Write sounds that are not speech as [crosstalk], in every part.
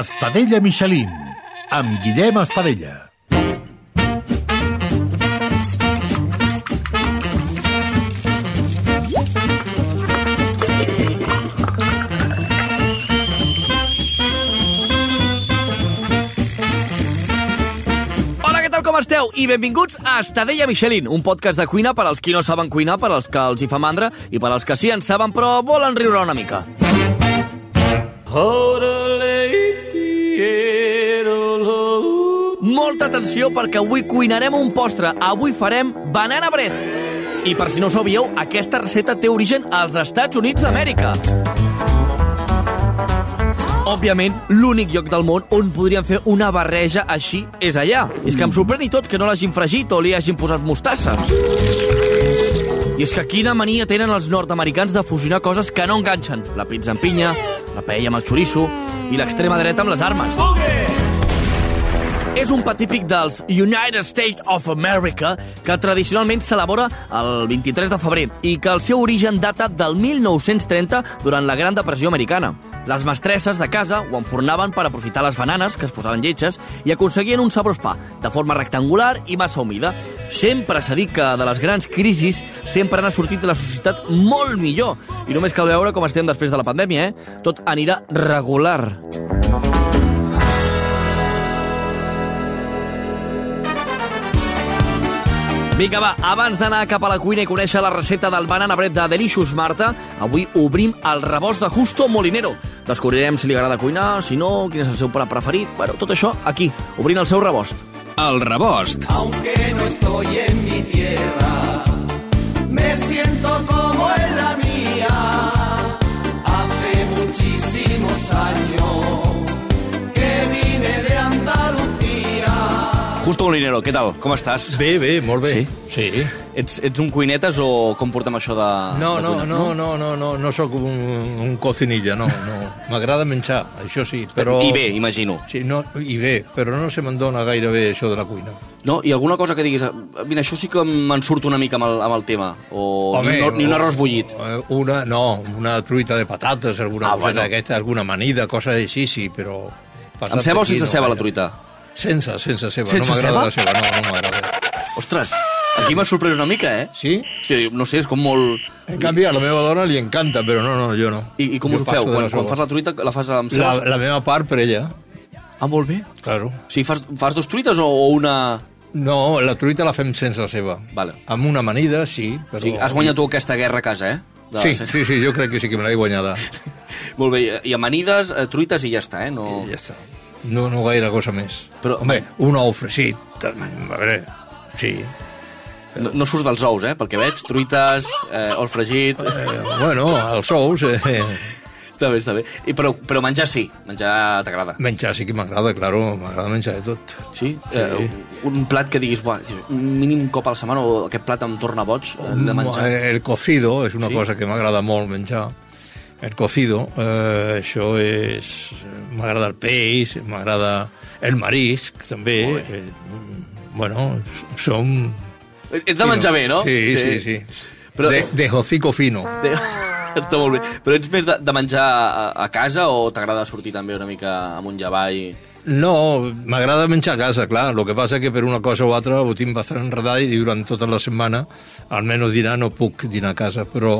Estadella Michelin, amb Guillem Estadella. Hola, què tal, com esteu? I benvinguts a Estadella Michelin, un podcast de cuina per als qui no saben cuinar, per als que els hi fa mandra i per als que sí en saben però volen riure una mica. Molta atenció perquè avui cuinarem un postre. Avui farem banana bread. I per si no ho sabíeu, aquesta recepta té origen als Estats Units d'Amèrica. Òbviament, l'únic lloc del món on podríem fer una barreja així és allà. I és que em sorprèn i tot que no l'hagin fregit o li hagin posat mostassa. I és que quina mania tenen els nord-americans de fusionar coses que no enganxen. La pizza amb pinya, la paella amb el xoriço i l'extrema dreta amb les armes. És un plat típic dels United States of America que tradicionalment s'elabora el 23 de febrer i que el seu origen data del 1930 durant la Gran Depressió Americana. Les mestresses de casa ho enfornaven per aprofitar les bananes que es posaven lletges i aconseguien un sabrós pa de forma rectangular i massa humida. Sempre s'ha dit que de les grans crisis sempre n'ha sortit la societat molt millor i només cal veure com estem després de la pandèmia, eh? Tot anirà regular. Vinga, va, abans d'anar cap a la cuina i conèixer la recepta del banana bread de Delicious Marta, avui obrim el rebost de Justo Molinero. Descobrirem si li agrada cuinar, si no, quin és el seu plat preferit... Bueno, tot això aquí, obrint el seu rebost. El rebost. aunque no estoy en mi tierra, me siento como en la mía. Hace muchísimos años que vine de Andalucía. Justo Molinero, què tal? Com estàs? Bé, bé, molt bé. Sí? Sí. Ets, ets un cuinetes o com portem això de... No, de no, cuinar? no, no, no, no, no sóc un, un cocinilla, no, no. M'agrada menjar, això sí, però... I bé, imagino. Sí, no, i bé, però no se me'n dona gaire bé això de la cuina. No? I alguna cosa que diguis, eh, mira, això sí que me'n surto una mica amb el, amb el tema. O ni, un- ni un arròs bullit. eh, Una, no, una truita de patates, alguna Ah, ah, coseta bueno. bueno. aquesta, alguna amanida, cosa així, sí, però... Amb ceba o sense ceba, la truita? Sense, sense ceba, Sense no m'agrada la ceba? ceba, no, no m'agrada. Ostres, aquí m'ha sorprès una mica, eh? Sí? Sí, no sé, és com molt... En canvi, a la meva dona li encanta, però no, no, jo no. I, i com Jo us ho feu? passo de Quan, les quan uvas. fas la truita, la fas amb la, cebes? la meva part per ella, Ah, molt bé. claro. O sigui, fas, fas dos truites o, o una... No, la truita la fem sense la ceba. Vale. Amb una amanida, sí, però... O sigui, has guanyat tu aquesta guerra a casa, eh? De- Sí, sí, sí, jo crec que sí que me l'he guanyada. Molt bé, i amanides, eh, truites i ja està, eh? No... I ja està. No, no gaire cosa més. Però- Home, un ou fregit, també, a veure, sí. No, no surts dels ous, eh? Perquè veig truites, eh, ol fregit... Eh, bueno, els ous, eh, Està bé, està bé. I, però, però menjar sí, menjar t'agrada. menjar sí que m'agrada, claro, m'agrada menjar de tot. Sí? Eh, un plat que diguis, buah, un mínim cop a la setmana o aquest plat em torna boig, hem de menjar. Eh, El cocido és una Sí. sí. cosa que m'agrada molt menjar. El cocido, eh, això és... M'agrada el peix, m'agrada el marisc, també. Molt Eh, bueno, som... Ets de menjar bé, no? Sí, sí, sí. Però- Però... De, de hocico fino. Té- [laughs] Està molt bé. Però ets més de, de menjar a, a casa o t'agrada sortir també una mica amunt i avall? No, m'agrada menjar a casa, clar. El que passa que per una cosa o altra ho tinc bastant enredat i durant tota la setmana, almenys dinar no puc dinar a casa, però,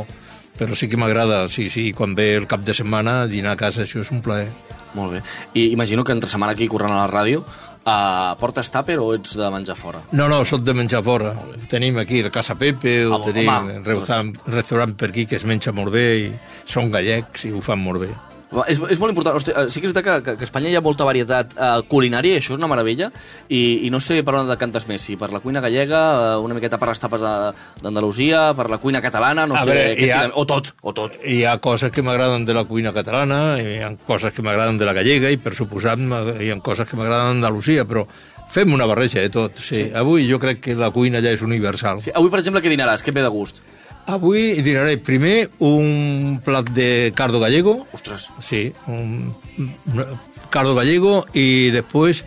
però sí que m'agrada. Sí, sí, quan ve el cap de setmana, dinar a casa, això és un plaer. Molt bé. I imagino que entre setmana aquí corrent a la ràdio uh, portes tàper o ets de menjar fora? No, no, sóc de menjar fora. Tenim aquí el Casa Pepe, Ah, ho bo, tenim home, el restaurant, restaurant per aquí que es menja molt bé i són gallecs i ho fan molt bé. Va, És, és molt important. Hosti, eh, sí que és veritat que, que, que a Espanya hi ha molta varietat eh, culinària, i això és una meravella, i, i no sé per on decantes més, si per la cuina gallega, eh, una miqueta per les tapes de- d'Andalusia, per la cuina catalana, no A sé... veure, què hi ha- tirem. O tot, o tot. Hi ha coses que m'agraden de la cuina catalana, hi ha coses que m'agraden de la gallega i, per suposat, m'ag- hi ha coses que m'agraden d'Andalusia, però fem una barreja de tot. Sí. sí. Avui jo crec que la cuina ja és universal. Sí, avui, per exemple, què dinaràs? Què et ve de gust? Avui dinaré primer un plat de cardo gallego, Ostres, Sí, un, un caldo gallego y después,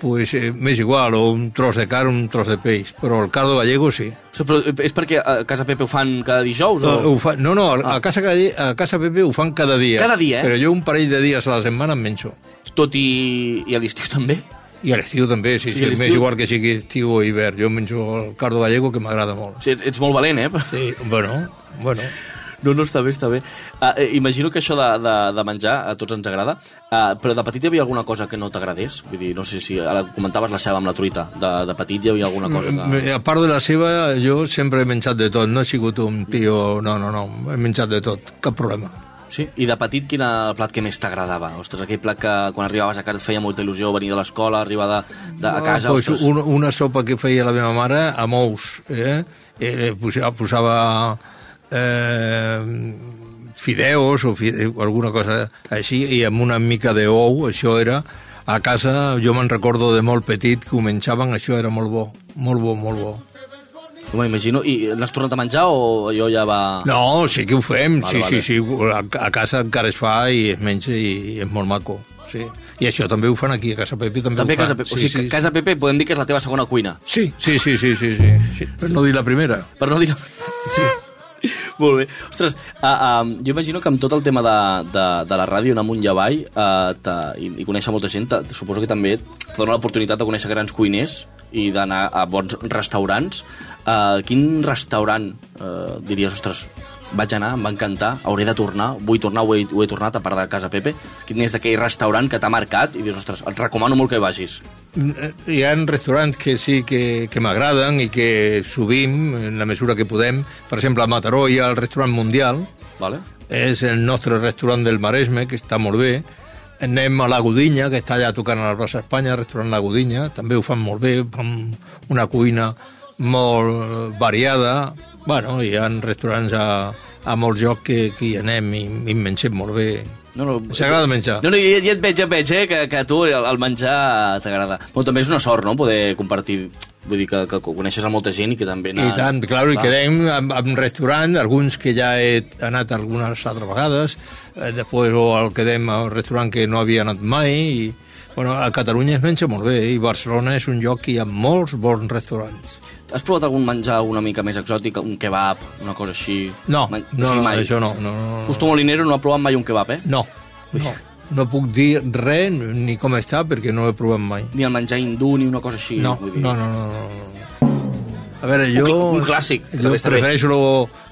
pues eh, me es igual, o un trozo de carne, un trozo de peix, però el caldo gallego sí. O sigui, però eh, és perquè a casa Pepe ho fan cada dijous? O... No, ho fa, no, no a, casa, Galle- a Casa Pepe ho fan cada dia. Ah. Cada dia, eh? Però jo un parell de dies a la setmana em menjo. tot i, i a l'estiu també. I a l'estiu també, sí, Sí, a sí, sí l'estiu. m'és igual que sigui estiu o hivern. Jo menjo el cardo gallego, que m'agrada molt. Sí, ets, ets molt valent, eh? Sí, bueno, bueno. No, no, està bé, està bé. Uh, imagino que això de, de, de menjar a tots ens agrada, uh, però de petit hi havia alguna cosa que no t'agradés? Vull dir, no sé si ara comentaves la ceba amb la truita. De, de petit hi havia alguna cosa que... Eh, A part de la seva, jo sempre he menjat de tot. No he sigut un tio... No, no, no. He menjat de tot. Cap problema. Sí? I de petit, quin era el plat que més t'agradava? Ostres, aquell plat que quan arribaves a casa et feia molta il·lusió venir de l'escola, arribar de, de, a casa... pues, ostres, una, una sopa que feia la meva mare amb ous. Eh? Eh, posava, posava eh, fideus o fide, alguna cosa així i amb una mica de ou, això era... A casa, jo me'n recordo de molt petit, que ho menjaven, això era molt bo, molt bo, molt bo. Home, imagino. I n'has tornat a menjar o allò ja va... No, sí que ho fem, Ah. Vale, sí, vale. sí, sí, a, a casa encara es fa i es menja i, és molt maco, sí. I això també ho fan aquí, a Casa Pepi també, També ho fan. Casa Pepe. Sí, o sigui, sí, Casa Pepe podem dir que és la teva segona cuina. Sí, sí, sí, sí, sí, sí, sí. Per no dir la primera. Per no dir... Sí. Molt bé. Ostres, uh, uh, jo imagino que amb tot el tema de, de, de la ràdio, anar amunt i avall uh, te, i, i conèixer molta gent, te, suposo que també et dona l'oportunitat de conèixer grans cuiners i d'anar a bons restaurants. Uh, quin restaurant uh, diries, ostres, vaig anar, em va encantar, hauré de tornar, vull tornar, ho he, ho he tornat, a part de Casa Pepe. Quin és d'aquell restaurant que t'ha marcat i dius, ostres, et recomano molt que hi vagis. Hi ha restaurants que sí que, que m'agraden i que subim en la mesura que podem. Per exemple, a Mataró hi ha el restaurant Mundial, Vale? és el nostre restaurant del Maresme, que està molt bé. Anem a la Godinya, que està allà tocant a la plaça Espanya, el restaurant La Godinya, també ho fan molt bé, fan una cuina molt variada. Bueno, hi ha restaurants a, a molts llocs que, que hi anem i, i mengem molt bé. No, no, Ens agrada menjar. No, no, ja, ja et veig, ja et veig, eh, que, que a tu el, el menjar t'agrada. Però també és una sort, no?, poder compartir... Vull dir, que, que coneixes a molta gent i que també... I tant, clar, i quedem en, en restaurant, alguns que ja he anat algunes altres vegades, eh, després o el quedem a un restaurant que no havia anat mai, i, bueno, a Catalunya es menja molt bé, eh, i Barcelona és un lloc que hi ha molts bons restaurants. Has provat algun menjar una mica més exòtic, un kebab, una cosa així? No, Man- no, no, això no, no, no, no. Justo Molinero no ha provat mai un kebab, eh? No, no, no puc dir res ni com està perquè no ho he provat mai. Ni el menjar hindú, ni una cosa així. No, vull dir. no, no, no, no. A veure, cl- jo... un clàssic, Jo també està bé. prefereixo lo,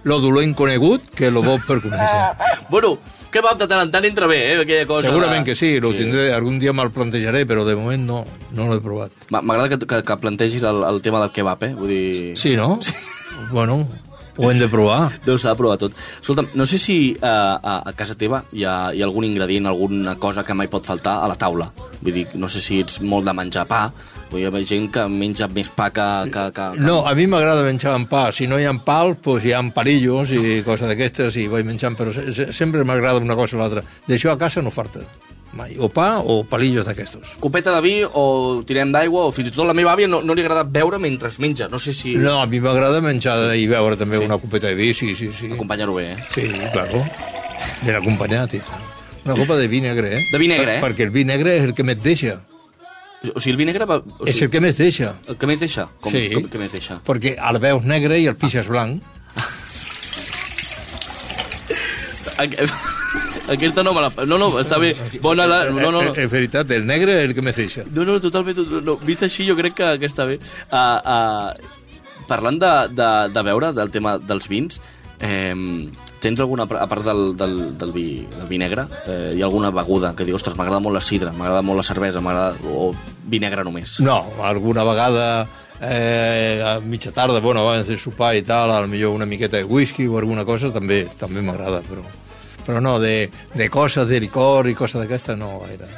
lo dolent conegut que lo bo per conèixer. Bueno, kebab de tant en tant entra bé, eh? Aquella cosa Segurament de- que sí, lo tindré, algun dia me'l plantejaré, però de moment no, no l'he provat. M'a- M'agrada que, que, que plantegis el, el tema del kebab, eh? Vull dir... Sí, no? Bueno, ho hem de provar. Doncs s'ha de provar tot. Escolta'm, no sé si eh, a, a casa teva hi ha, hi ha algun ingredient, alguna cosa que mai pot faltar a la taula. Vull dir, no sé si ets molt de menjar pa, vull dir, hi ha gent que menja més pa que... que, que, que... No, a mi m'agrada menjar amb pa. Si no hi ha pal, doncs hi ha parillos i coses d'aquestes i vaig menjant, però se- se- sempre m'agrada una cosa o l'altra. D'això a casa no falta mai. O pa o palillos d'aquestos. Copeta de vi o tirem d'aigua o fins i tot la meva àvia no, no li agrada beure mentre es menja. No sé si... No, a mi m'agrada menjar i beure també una copeta de vi, sí, sí, sí. Acompanyar-ho bé, eh? Sí, claro. Ben acompanyat i tal. Una copa de vi negre, eh? De vi negre, eh? Per- Perquè el vi negre és el que més deixa. O sigui, el vi negre... Va... O És el sigui, que més deixa. el que més deixa? Com, Sí. com, que més deixa? Perquè el veus negre i el pixes blanc. Aqu- [laughs] Aquesta no me la... No, no, està bé. Bona la... No, no, no. Eh, És veritat, el negre és el que més deixa. No, no, totalment. No, no. Vist així, jo crec que, que està bé. Uh, uh, parlant de, de, de veure, del tema dels vins, eh, tens alguna, a part del, del, del, vi, del vi negre, eh, hi ha alguna beguda que dius, ostres, m'agrada molt la sidra, m'agrada molt la cervesa, m'agrada... o vi negre només? No, alguna vegada eh, a mitja tarda, bueno, abans de sopar i tal, a lo millor una miqueta de whisky o alguna cosa també també m'agrada, però però no, de, de coses, de licor i coses d'aquesta no gaire.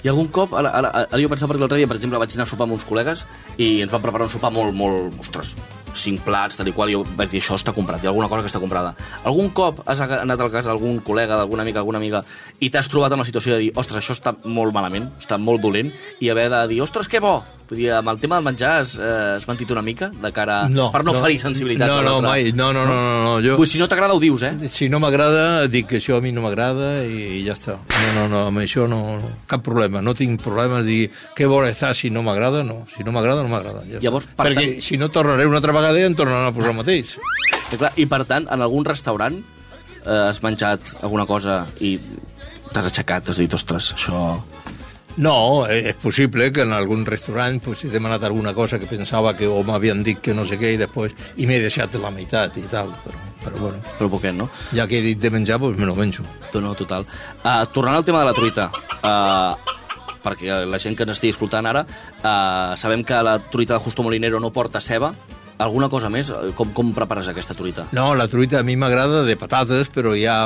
I algun cop, ara, ara, ara jo pensava perquè l'altre dia, per exemple, vaig anar a sopar amb uns col·legues i ens van preparar un sopar molt, molt, ostres, cinc plats, tal i qual, i jo vaig dir, això està comprat, hi ha alguna cosa que està comprada. Algun cop has aga- anat al cas d'algun col·lega, d'alguna amiga, alguna amiga, i t'has trobat amb la situació de dir, ostres, això està molt malament, està molt dolent, i haver de dir, ostres, que bo! Vull dir, amb el tema del menjar has, eh, has mentit una mica de cara... Ah, per no, ferir sensibilitats No, a no, l'altre. mai, no, no, no, no, no jo... Vull, si no t'agrada, ho dius, eh? Si no m'agrada, dic que això a mi no m'agrada i ja està. No, no, no, amb això no, no, cap problema. No tinc problemes de dir què vol estar si no m'agrada, no. Si no m'agrada, no m'agrada. Ja està. Llavors, per Perquè tant- si no tornaré una altra vegada i em tornaran a posar el mateix. I, clar, I per tant, en algun restaurant eh, has menjat alguna cosa i t'has aixecat, has dit, ostres, això... No, eh, és possible que en algun restaurant pues, he demanat alguna cosa que pensava que o m'havien dit que no sé què i després i m'he deixat la meitat i tal, però, però bueno, Però poquet, no? ja que he dit de menjar, doncs me lo menjo. No, no, total. Uh, tornant al tema de la truita, uh, perquè la gent que ens estigui escoltant ara, uh, sabem que la truita de Justo Molinero no porta ceba. Alguna cosa més? Com, com prepares aquesta truita? No, la truita a mi m'agrada de patates, però hi ha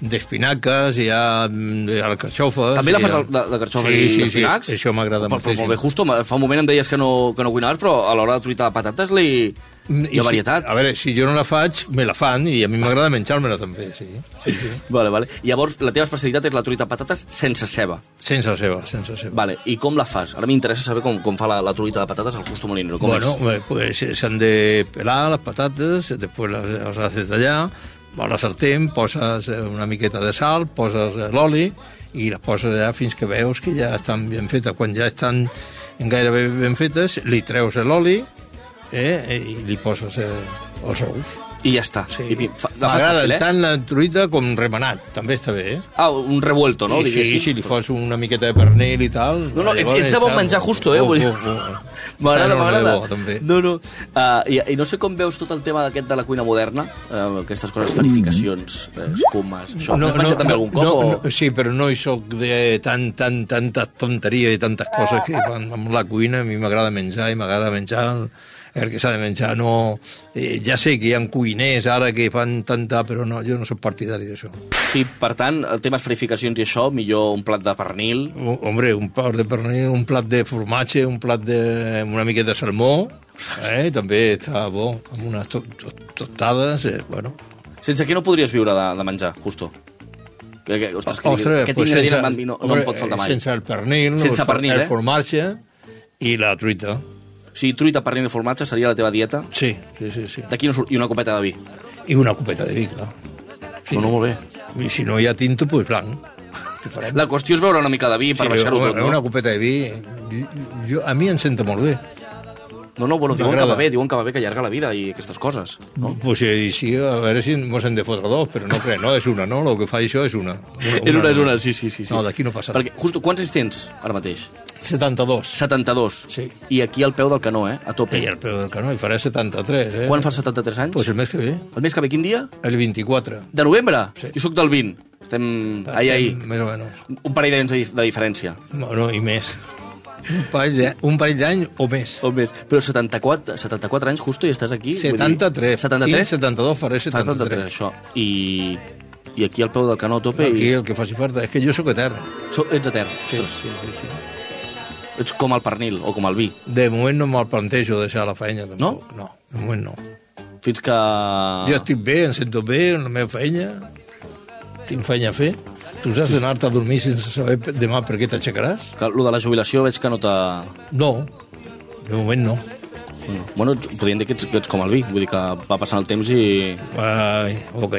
d'espinaques, hi ha mm, alcarxofes... També la hi fas ha- de, de, de carxofa sí, i sí, espinacs? Sí, això m'agrada Però- Però moltíssim. molt bé, Justo, ma- fa un moment em deies que no, que no cuinaves, però a l'hora de truita de patates li... Mm, i hi ha varietat. Si, a veure, si jo no la faig, me la fan i a mi m'agrada menjar-me-la també, sí. [laughs] sí, sí. Vale, vale. Llavors, la teva especialitat és la truita de patates sense ceba. Sense ceba, sense ceba. Vale, i com la fas? Ara m'interessa saber com, com fa la, la truita de patates al Justo Molinero. Com bueno, és? eh, pues eh, s'han de pelar les patates, eh, després les, les has de tallar, a la sartén poses eh, una miqueta de sal, poses eh, l'oli i les poses allà fins que veus que ja estan ben fetes. Quan ja estan gairebé ben fetes, li treus l'oli eh, i li poses eh, els ous. I ja està. Sí. I, pi- fa, la fas M'agrada fàcil, eh? tant la truita com remenat, també està bé, eh? Ah, un revuelto, no? I sí, Diguéssim. si li fos una miqueta de pernil i tal... No, no, ets, llavors ets de bon està menjar justo, eh? bo, vull dir. bo, bo. M'agrada, Està enorme de m'agrada. bo, també. No, no. Uh, i, I no sé com veus tot el tema d'aquest de la cuina moderna, uh, aquestes coses, esferificacions, eh, escumes, això. No, Has menjat també algun cop? no, o... no, sí, però no hi soc de tan, tan, tanta tonteria i tantes coses que van amb la cuina. A mi m'agrada menjar i m'agrada menjar el, el que s'ha de menjar. No, eh, ja sé que hi ha cuiners ara que fan tanta... Però no, jo no soc partidari d'això. Sí, per tant, el tema esferificacions i això, millor un plat de pernil, Ho- Hombre, un plat de pernil, un plat de formatge, un plat de... amb una mica de salmó, eh? també està bo, amb unes to to tostades, eh? bueno... sense què no podries viure de, de menjar, justo. Que, que, ostres, que, Ostres, eh, que, que pues ingredient sense- em van dir no, no hombre, em pot faltar eh, mai. Sense el pernil, Sense el, for- pernil, el eh? formatge i la truita. O sigui, truita, pernil i formatge seria la teva dieta. Sí, sí, sí. sí. D'aquí no surt, i una copeta de vi. I una copeta de vi, clar. Sí. No, no, molt bé. I si no hi ha tinto, doncs blanc. Què farem? La qüestió és beure una mica de vi per baixar-ho tot, no? Una copeta de vi, jo, a mi em senta molt bé. No, no, bueno, diuen que M'agrada. va bé, diuen que va bé que allarga la vida i aquestes coses. [laughs] No? Pues sí, sí, a veure si mos hem de fotre dos, però no crec, no, és una, no? El que fa això és una. és una, és una, sí, sí, sí. sí. No, d'aquí no passa Perquè, justo, quants anys tens ara mateix? res. 72. 72. Sí. I aquí al peu del canó, eh? A tope. I el peu del canó, i farà 73, eh? Quan fas 73 anys? Pues el mes que ve, El mes que ve, quin dia? el 24. De novembre? Sí. Jo sóc del 20. Estem... Ahir, ahir. Més o menys. Un parell d'anys de, dif- de diferència. Bueno, i més. Un parell de- un parell d'anys o més. O més. Però 74, 74 anys, justo, i estàs aquí? vull dir- 73. 73? 72, faré Fas 73, 73. això. I, I aquí al peu del canó a tope... Aquí I... el que faci falta. És que jo sóc etern. So, ets a terra. Sí, Ostres, sí, sí, sí. Ets com el pernil o com el vi. De moment no me'l plantejo deixar la feina. Tampoc. No? No, de moment no. Fins que... Ah. Jo estic bé, em sento bé en la meva feina. Tinc feina a fer. Tu has d'anar-te a dormir sense saber pe- demà per què t'aixecaràs? Que lo de la jubilació veig que no te... No, de moment no. No. Bueno, ets, podríem dir que ets, que ets com el vi, vull dir que va passant el temps i... Ai, ok.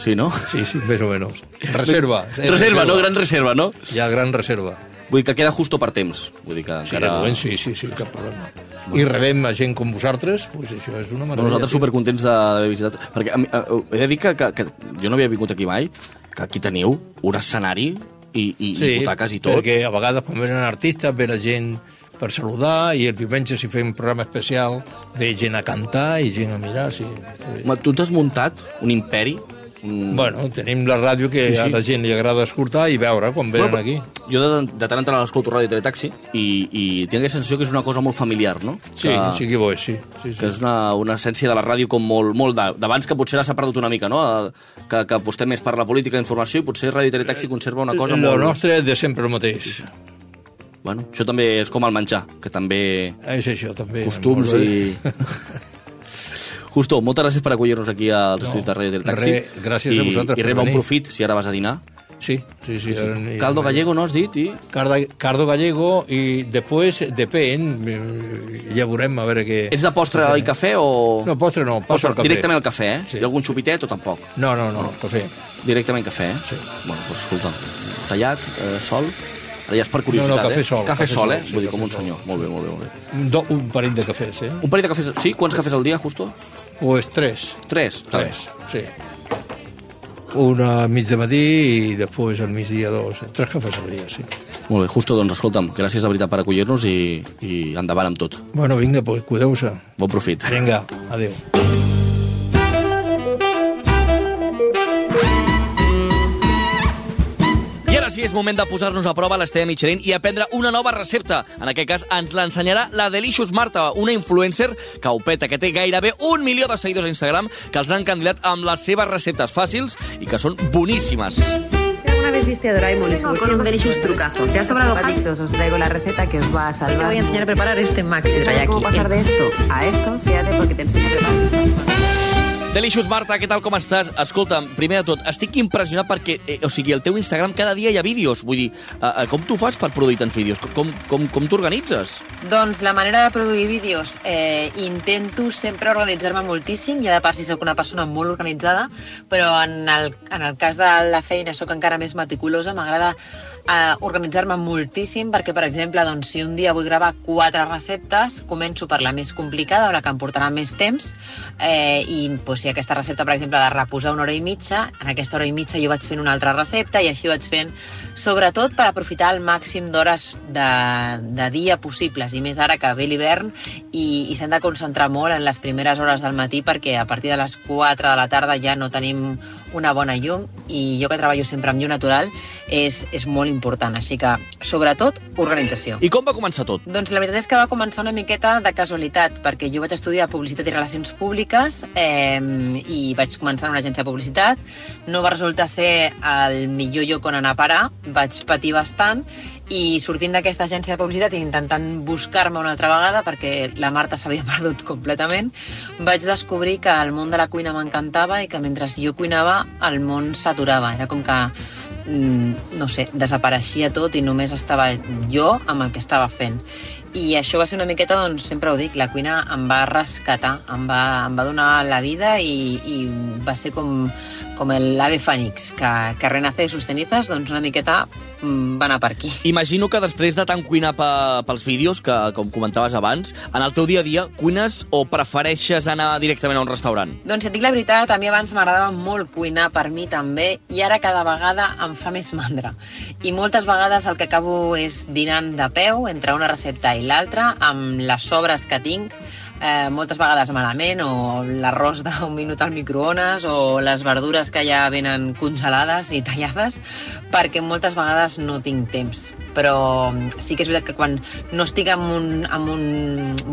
Sí, no? Sí, sí, més o [laughs] menys. Reserva. eh, reserva, no? Gran reserva, no? Hi ha gran reserva. Vull dir que queda justo per temps. Vull dir que Sí, encara... de moment sí, sí, sí, cap problema. I rebem a gent com vosaltres, doncs això és una Però meravella. nosaltres supercontents de- d'haver visitat... Perquè a mi, a, he de dir que, que, que jo no havia vingut aquí mai, que aquí teniu un escenari i, i, i butaques i tot. perquè a vegades quan venen artistes ve la gent per saludar i el diumenge si fem un programa especial ve gent a cantar i gent a mirar. Sí, està bé. Home, tu t'has muntat un imperi... Un... Bueno, tenim la ràdio que sí, sí. a la gent li agrada escoltar i veure quan venen Bueno, aquí. però Jo de, de tant en tant l'escolto ràdio i teletaxi i, i tinc la sensació que és una cosa molt familiar, no? Sí, que, sí que bo és, sí. que sí, sí. és una, una essència de la ràdio com molt, molt de- d'abans, que potser ara s'ha perdut una mica, no? Eh, Que, que apostem més per la política i la informació i potser Ràdio i Teletaxi conserva una cosa Lo molt... nostre és de sempre el mateix. Bueno, això també és com el menjar, que també... És això, també. Costums Molt bé. [laughs] i... Justo, moltes gràcies per acollir-nos aquí als No, no, estudis de Ràdio i Teletaxi. re, gràcies a I- vosaltres I per reba un venir. profit si ara vas a dinar. Sí, sí, sí. sí. Caldo gallego, no has dit? I... Carda, Cardo Gallego i després depèn, eh, ja veurem a veure què... Ets de postre i cafè o...? No, postre no, postre al cafè. Directament al cafè, eh? Sí. Sí. Hi ha algun xupitet o tampoc? No, no, no, cafè. Directament cafè, eh? Sí. Bueno, doncs escolta, tallat, eh, sol... Ara ja és per curiositat, No, no, cafè eh? sol, Cafè, cafè sol, eh? sol, sí, Vull dir, cafè com un sol. senyor. Molt bé, molt bé, molt bé. Un Do, un parell de cafès, eh? Un parell de cafès... Sí? Quants cafès al dia, Justo? Pues tres. Tres. Tres, sí. una al mig de matí i després al migdia dos, tres cafès al dia, sí. Molt bé, Justo, doncs escolta'm, gràcies de veritat per acollir-nos i, i endavant amb tot. Bueno, vinga, pues, cuideu-se. Bon profit. Vinga, adeu. I ara sí, és moment de posar-nos a prova l'Estella Michelin i aprendre una nova recepta. En aquest cas, ens l'ensenyarà la Delicious Marta, una influencer que ho peta, que té gairebé un milió de seguidors a Instagram, que els han candidat amb les seves receptes fàcils i que són boníssimes. ¿Alguna vez viste a Doraemon y su Con un bolsillo? delicious trucazo. ¿Te ha sobrado pan? Adictos, os traigo la receta que os va a Te salvar. voy a enseñar a preparar este maxi ¿Sabes drayaki. cómo pasar de esto a esto? Fíjate porque te enseño a preparar. Delicious Marta, què tal, com estàs? Escolta'm, primer de tot, estic impressionat perquè, eh, o sigui, al teu Instagram cada dia hi ha vídeos. Vull dir, eh, eh, com tu fas per produir tants vídeos? Com, com, com t'organitzes? Doncs la manera de produir vídeos, eh, intento sempre organitzar-me moltíssim, ja de per si sóc una persona molt organitzada, però en el, en el cas de la feina sóc encara més meticulosa, m'agrada eh, organitzar-me moltíssim perquè, per exemple, doncs, si un dia vull gravar quatre receptes, començo per la més complicada, la que em portarà més temps, eh, i doncs, si aquesta recepta, per exemple, de reposar una hora i mitja, en aquesta hora i mitja jo vaig fent una altra recepta i així vaig fent, sobretot per aprofitar el màxim d'hores de, de dia possibles, i més ara que ve l'hivern i, i s'han de concentrar molt en les primeres hores del matí perquè a partir de les 4 de la tarda ja no tenim una bona llum i jo que treballo sempre amb llum natural és, és molt important, així que sobretot organització. I com va començar tot? Doncs la veritat és que va començar una miqueta de casualitat, perquè jo vaig estudiar Publicitat i Relacions Públiques eh, i vaig començar en una agència de publicitat. No va resultar ser el millor lloc on anar a parar, vaig patir bastant i sortint d'aquesta agència de publicitat i intentant buscar-me una altra vegada perquè la Marta s'havia [laughs] perdut completament, vaig descobrir que el món de la cuina m'encantava i que mentre jo cuinava el món s'aturava. Era com que mm, no sé, desapareixia tot i només estava jo amb el que estava fent. I això va ser una miqueta, doncs, sempre ho dic, la cuina em va rescatar, em va, em va donar la vida i, i va ser com, com l'ave fènix, que, que renace de sus cenizas, doncs una miqueta mm, va anar per aquí. Imagino que després de tant cuinar pe, pels vídeos, que com comentaves abans, en el teu dia a dia cuines o prefereixes anar directament a un restaurant? Doncs si et dic la veritat, a mi abans m'agradava molt cuinar per mi també i ara cada vegada em fa més mandra. I moltes vegades el que acabo és dinant de peu entre una recepta i l'altra amb les sobres que tinc eh, moltes vegades malament, o l'arròs d'un minut al microones, o les verdures que ja venen congelades i tallades, perquè moltes vegades no tinc temps. Però sí que és veritat que quan no estic amb un, amb un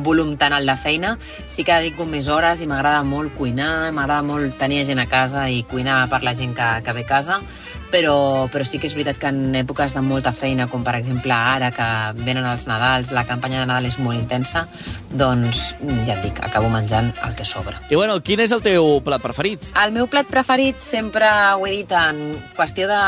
volum tan alt de feina, sí que dedico més hores i m'agrada molt cuinar, m'agrada molt tenir gent a casa i cuinar per la gent que, que ve a casa, però, però sí que és veritat que en èpoques de molta feina, com per exemple ara que venen els Nadals, la campanya de Nadal és molt intensa, doncs ja et dic, acabo menjant el que sobra. I bueno, quin és el teu plat preferit? El meu plat preferit, sempre ho he dit en qüestió de,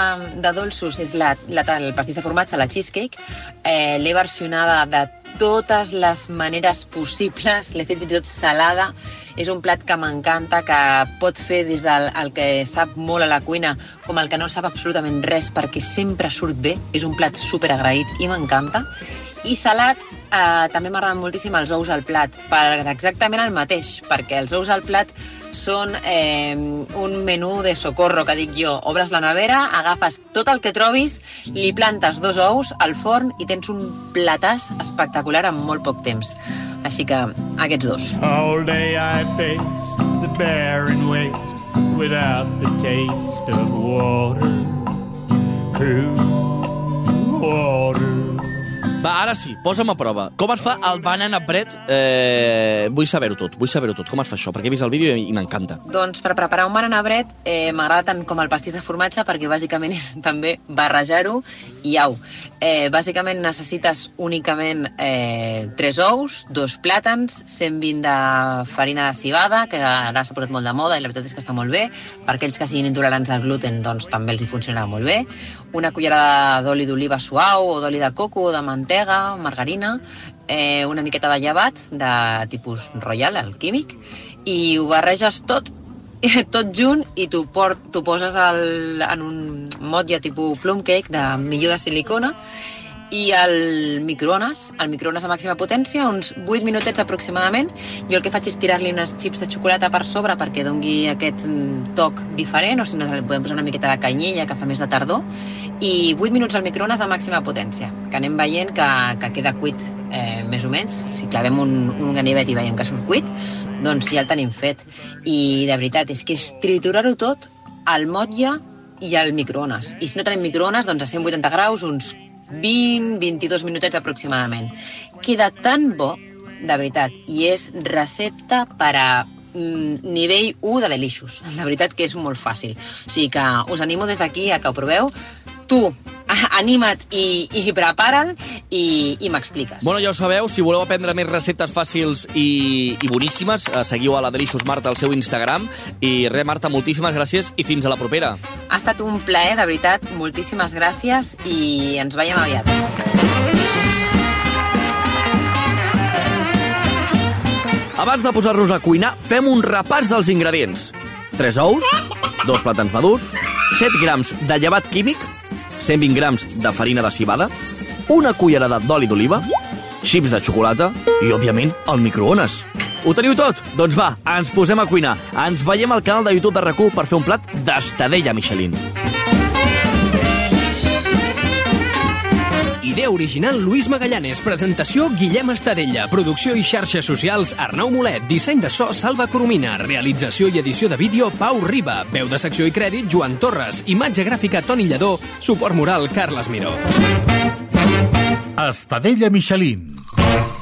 de dolços, és la, la, el pastís de formatge, la cheesecake. Eh, L'he versionada de totes les maneres possibles, l'he fet fins i tot salada. És un plat que m'encanta, que pot fer des del el que sap molt a la cuina com el que no sap absolutament res perquè sempre surt bé. És un plat super agraït i m'encanta. I salat, eh, també m'agraden moltíssim els ous al plat, per exactament el mateix, perquè els ous al plat són eh, un menú de socorro, que dic jo. Obres la nevera, agafes tot el que trobis, li plantes dos ous al forn i tens un platàs espectacular en molt poc temps. Així que aquests dos. All day I faced the barren waste without the taste of water. Cool water. Va, ara sí, posa'm a prova. Com es fa el banana bread? Eh, vull saber-ho tot, vull saber-ho tot. Com es fa això? Perquè he vist el vídeo i, i m'encanta. Doncs per preparar un banana bread eh, m'agrada tant com el pastís de formatge perquè bàsicament [laughs] és també barrejar-ho i au. Eh, bàsicament necessites únicament eh, 3 ous, dos plàtans, 120 de farina de cibada, que ara s'ha posat molt de moda i la veritat és que està molt bé. Per aquells que siguin intolerants al gluten, doncs també els hi funcionarà molt bé. Una cullerada d'oli d'oliva suau o d'oli de coco o de mantega, margarina, eh, una miqueta de llevat de tipus royal, el químic, i ho barreges tot [laughs] tot junt i t'ho port, t'ho poses al, en un motlle tipus plum cake de millor de silicona i el microones, el microones a màxima potència, uns 8 minutets aproximadament. Jo el que faig és tirar-li unes xips de xocolata per sobre perquè dongui aquest mm, toc diferent, o si no, li podem posar una miqueta de canyella, que fa més de tardor, i 8 minuts al microones a màxima potència, que anem veient que, que queda cuit eh, més o menys. Si clavem un, un ganivet i veiem que surt cuit, doncs ja el tenim fet. I de veritat, és que és triturar-ho tot al motlle i al microones. I si no tenim microones, doncs a 180 graus, uns 20-22 minutets aproximadament. Queda tan bo, de veritat, i és recepta per a mm, nivell 1 de Delicious. [laughs] La veritat que és molt fàcil. O sigui que us animo des d'aquí a que ho proveu. Tu, [laughs] anima't i, i prepara'l i, i m'expliques. Bueno, ja ho sabeu, si voleu aprendre més receptes fàcils i, i boníssimes, eh, seguiu a la Delicious Marta al seu Instagram. I res, Marta, moltíssimes gràcies i fins a la propera. Ha estat un plaer, de veritat. Moltíssimes gràcies i ens veiem aviat. Abans de posar-nos a cuinar, fem un repàs dels ingredients. 3 ous, 2 plàtans madurs, 7 grams de llevat químic, 120 grams de farina de cibada, una cullerada d'oli d'oliva, xips de xocolata i, òbviament, el microones. Ho teniu tot? Doncs va, ens posem a cuinar. Ens veiem al canal de YouTube de rac per fer un plat d'estadella Michelin. Idea original Lluís Magallanes, presentació Guillem Estadella, producció i xarxes socials Arnau Molet, disseny de so Salva Coromina, realització i edició de vídeo Pau Riba, veu de secció i crèdit Joan Torres, imatge gràfica Toni Lledó, suport moral Carles Miró. Estadella Michelin.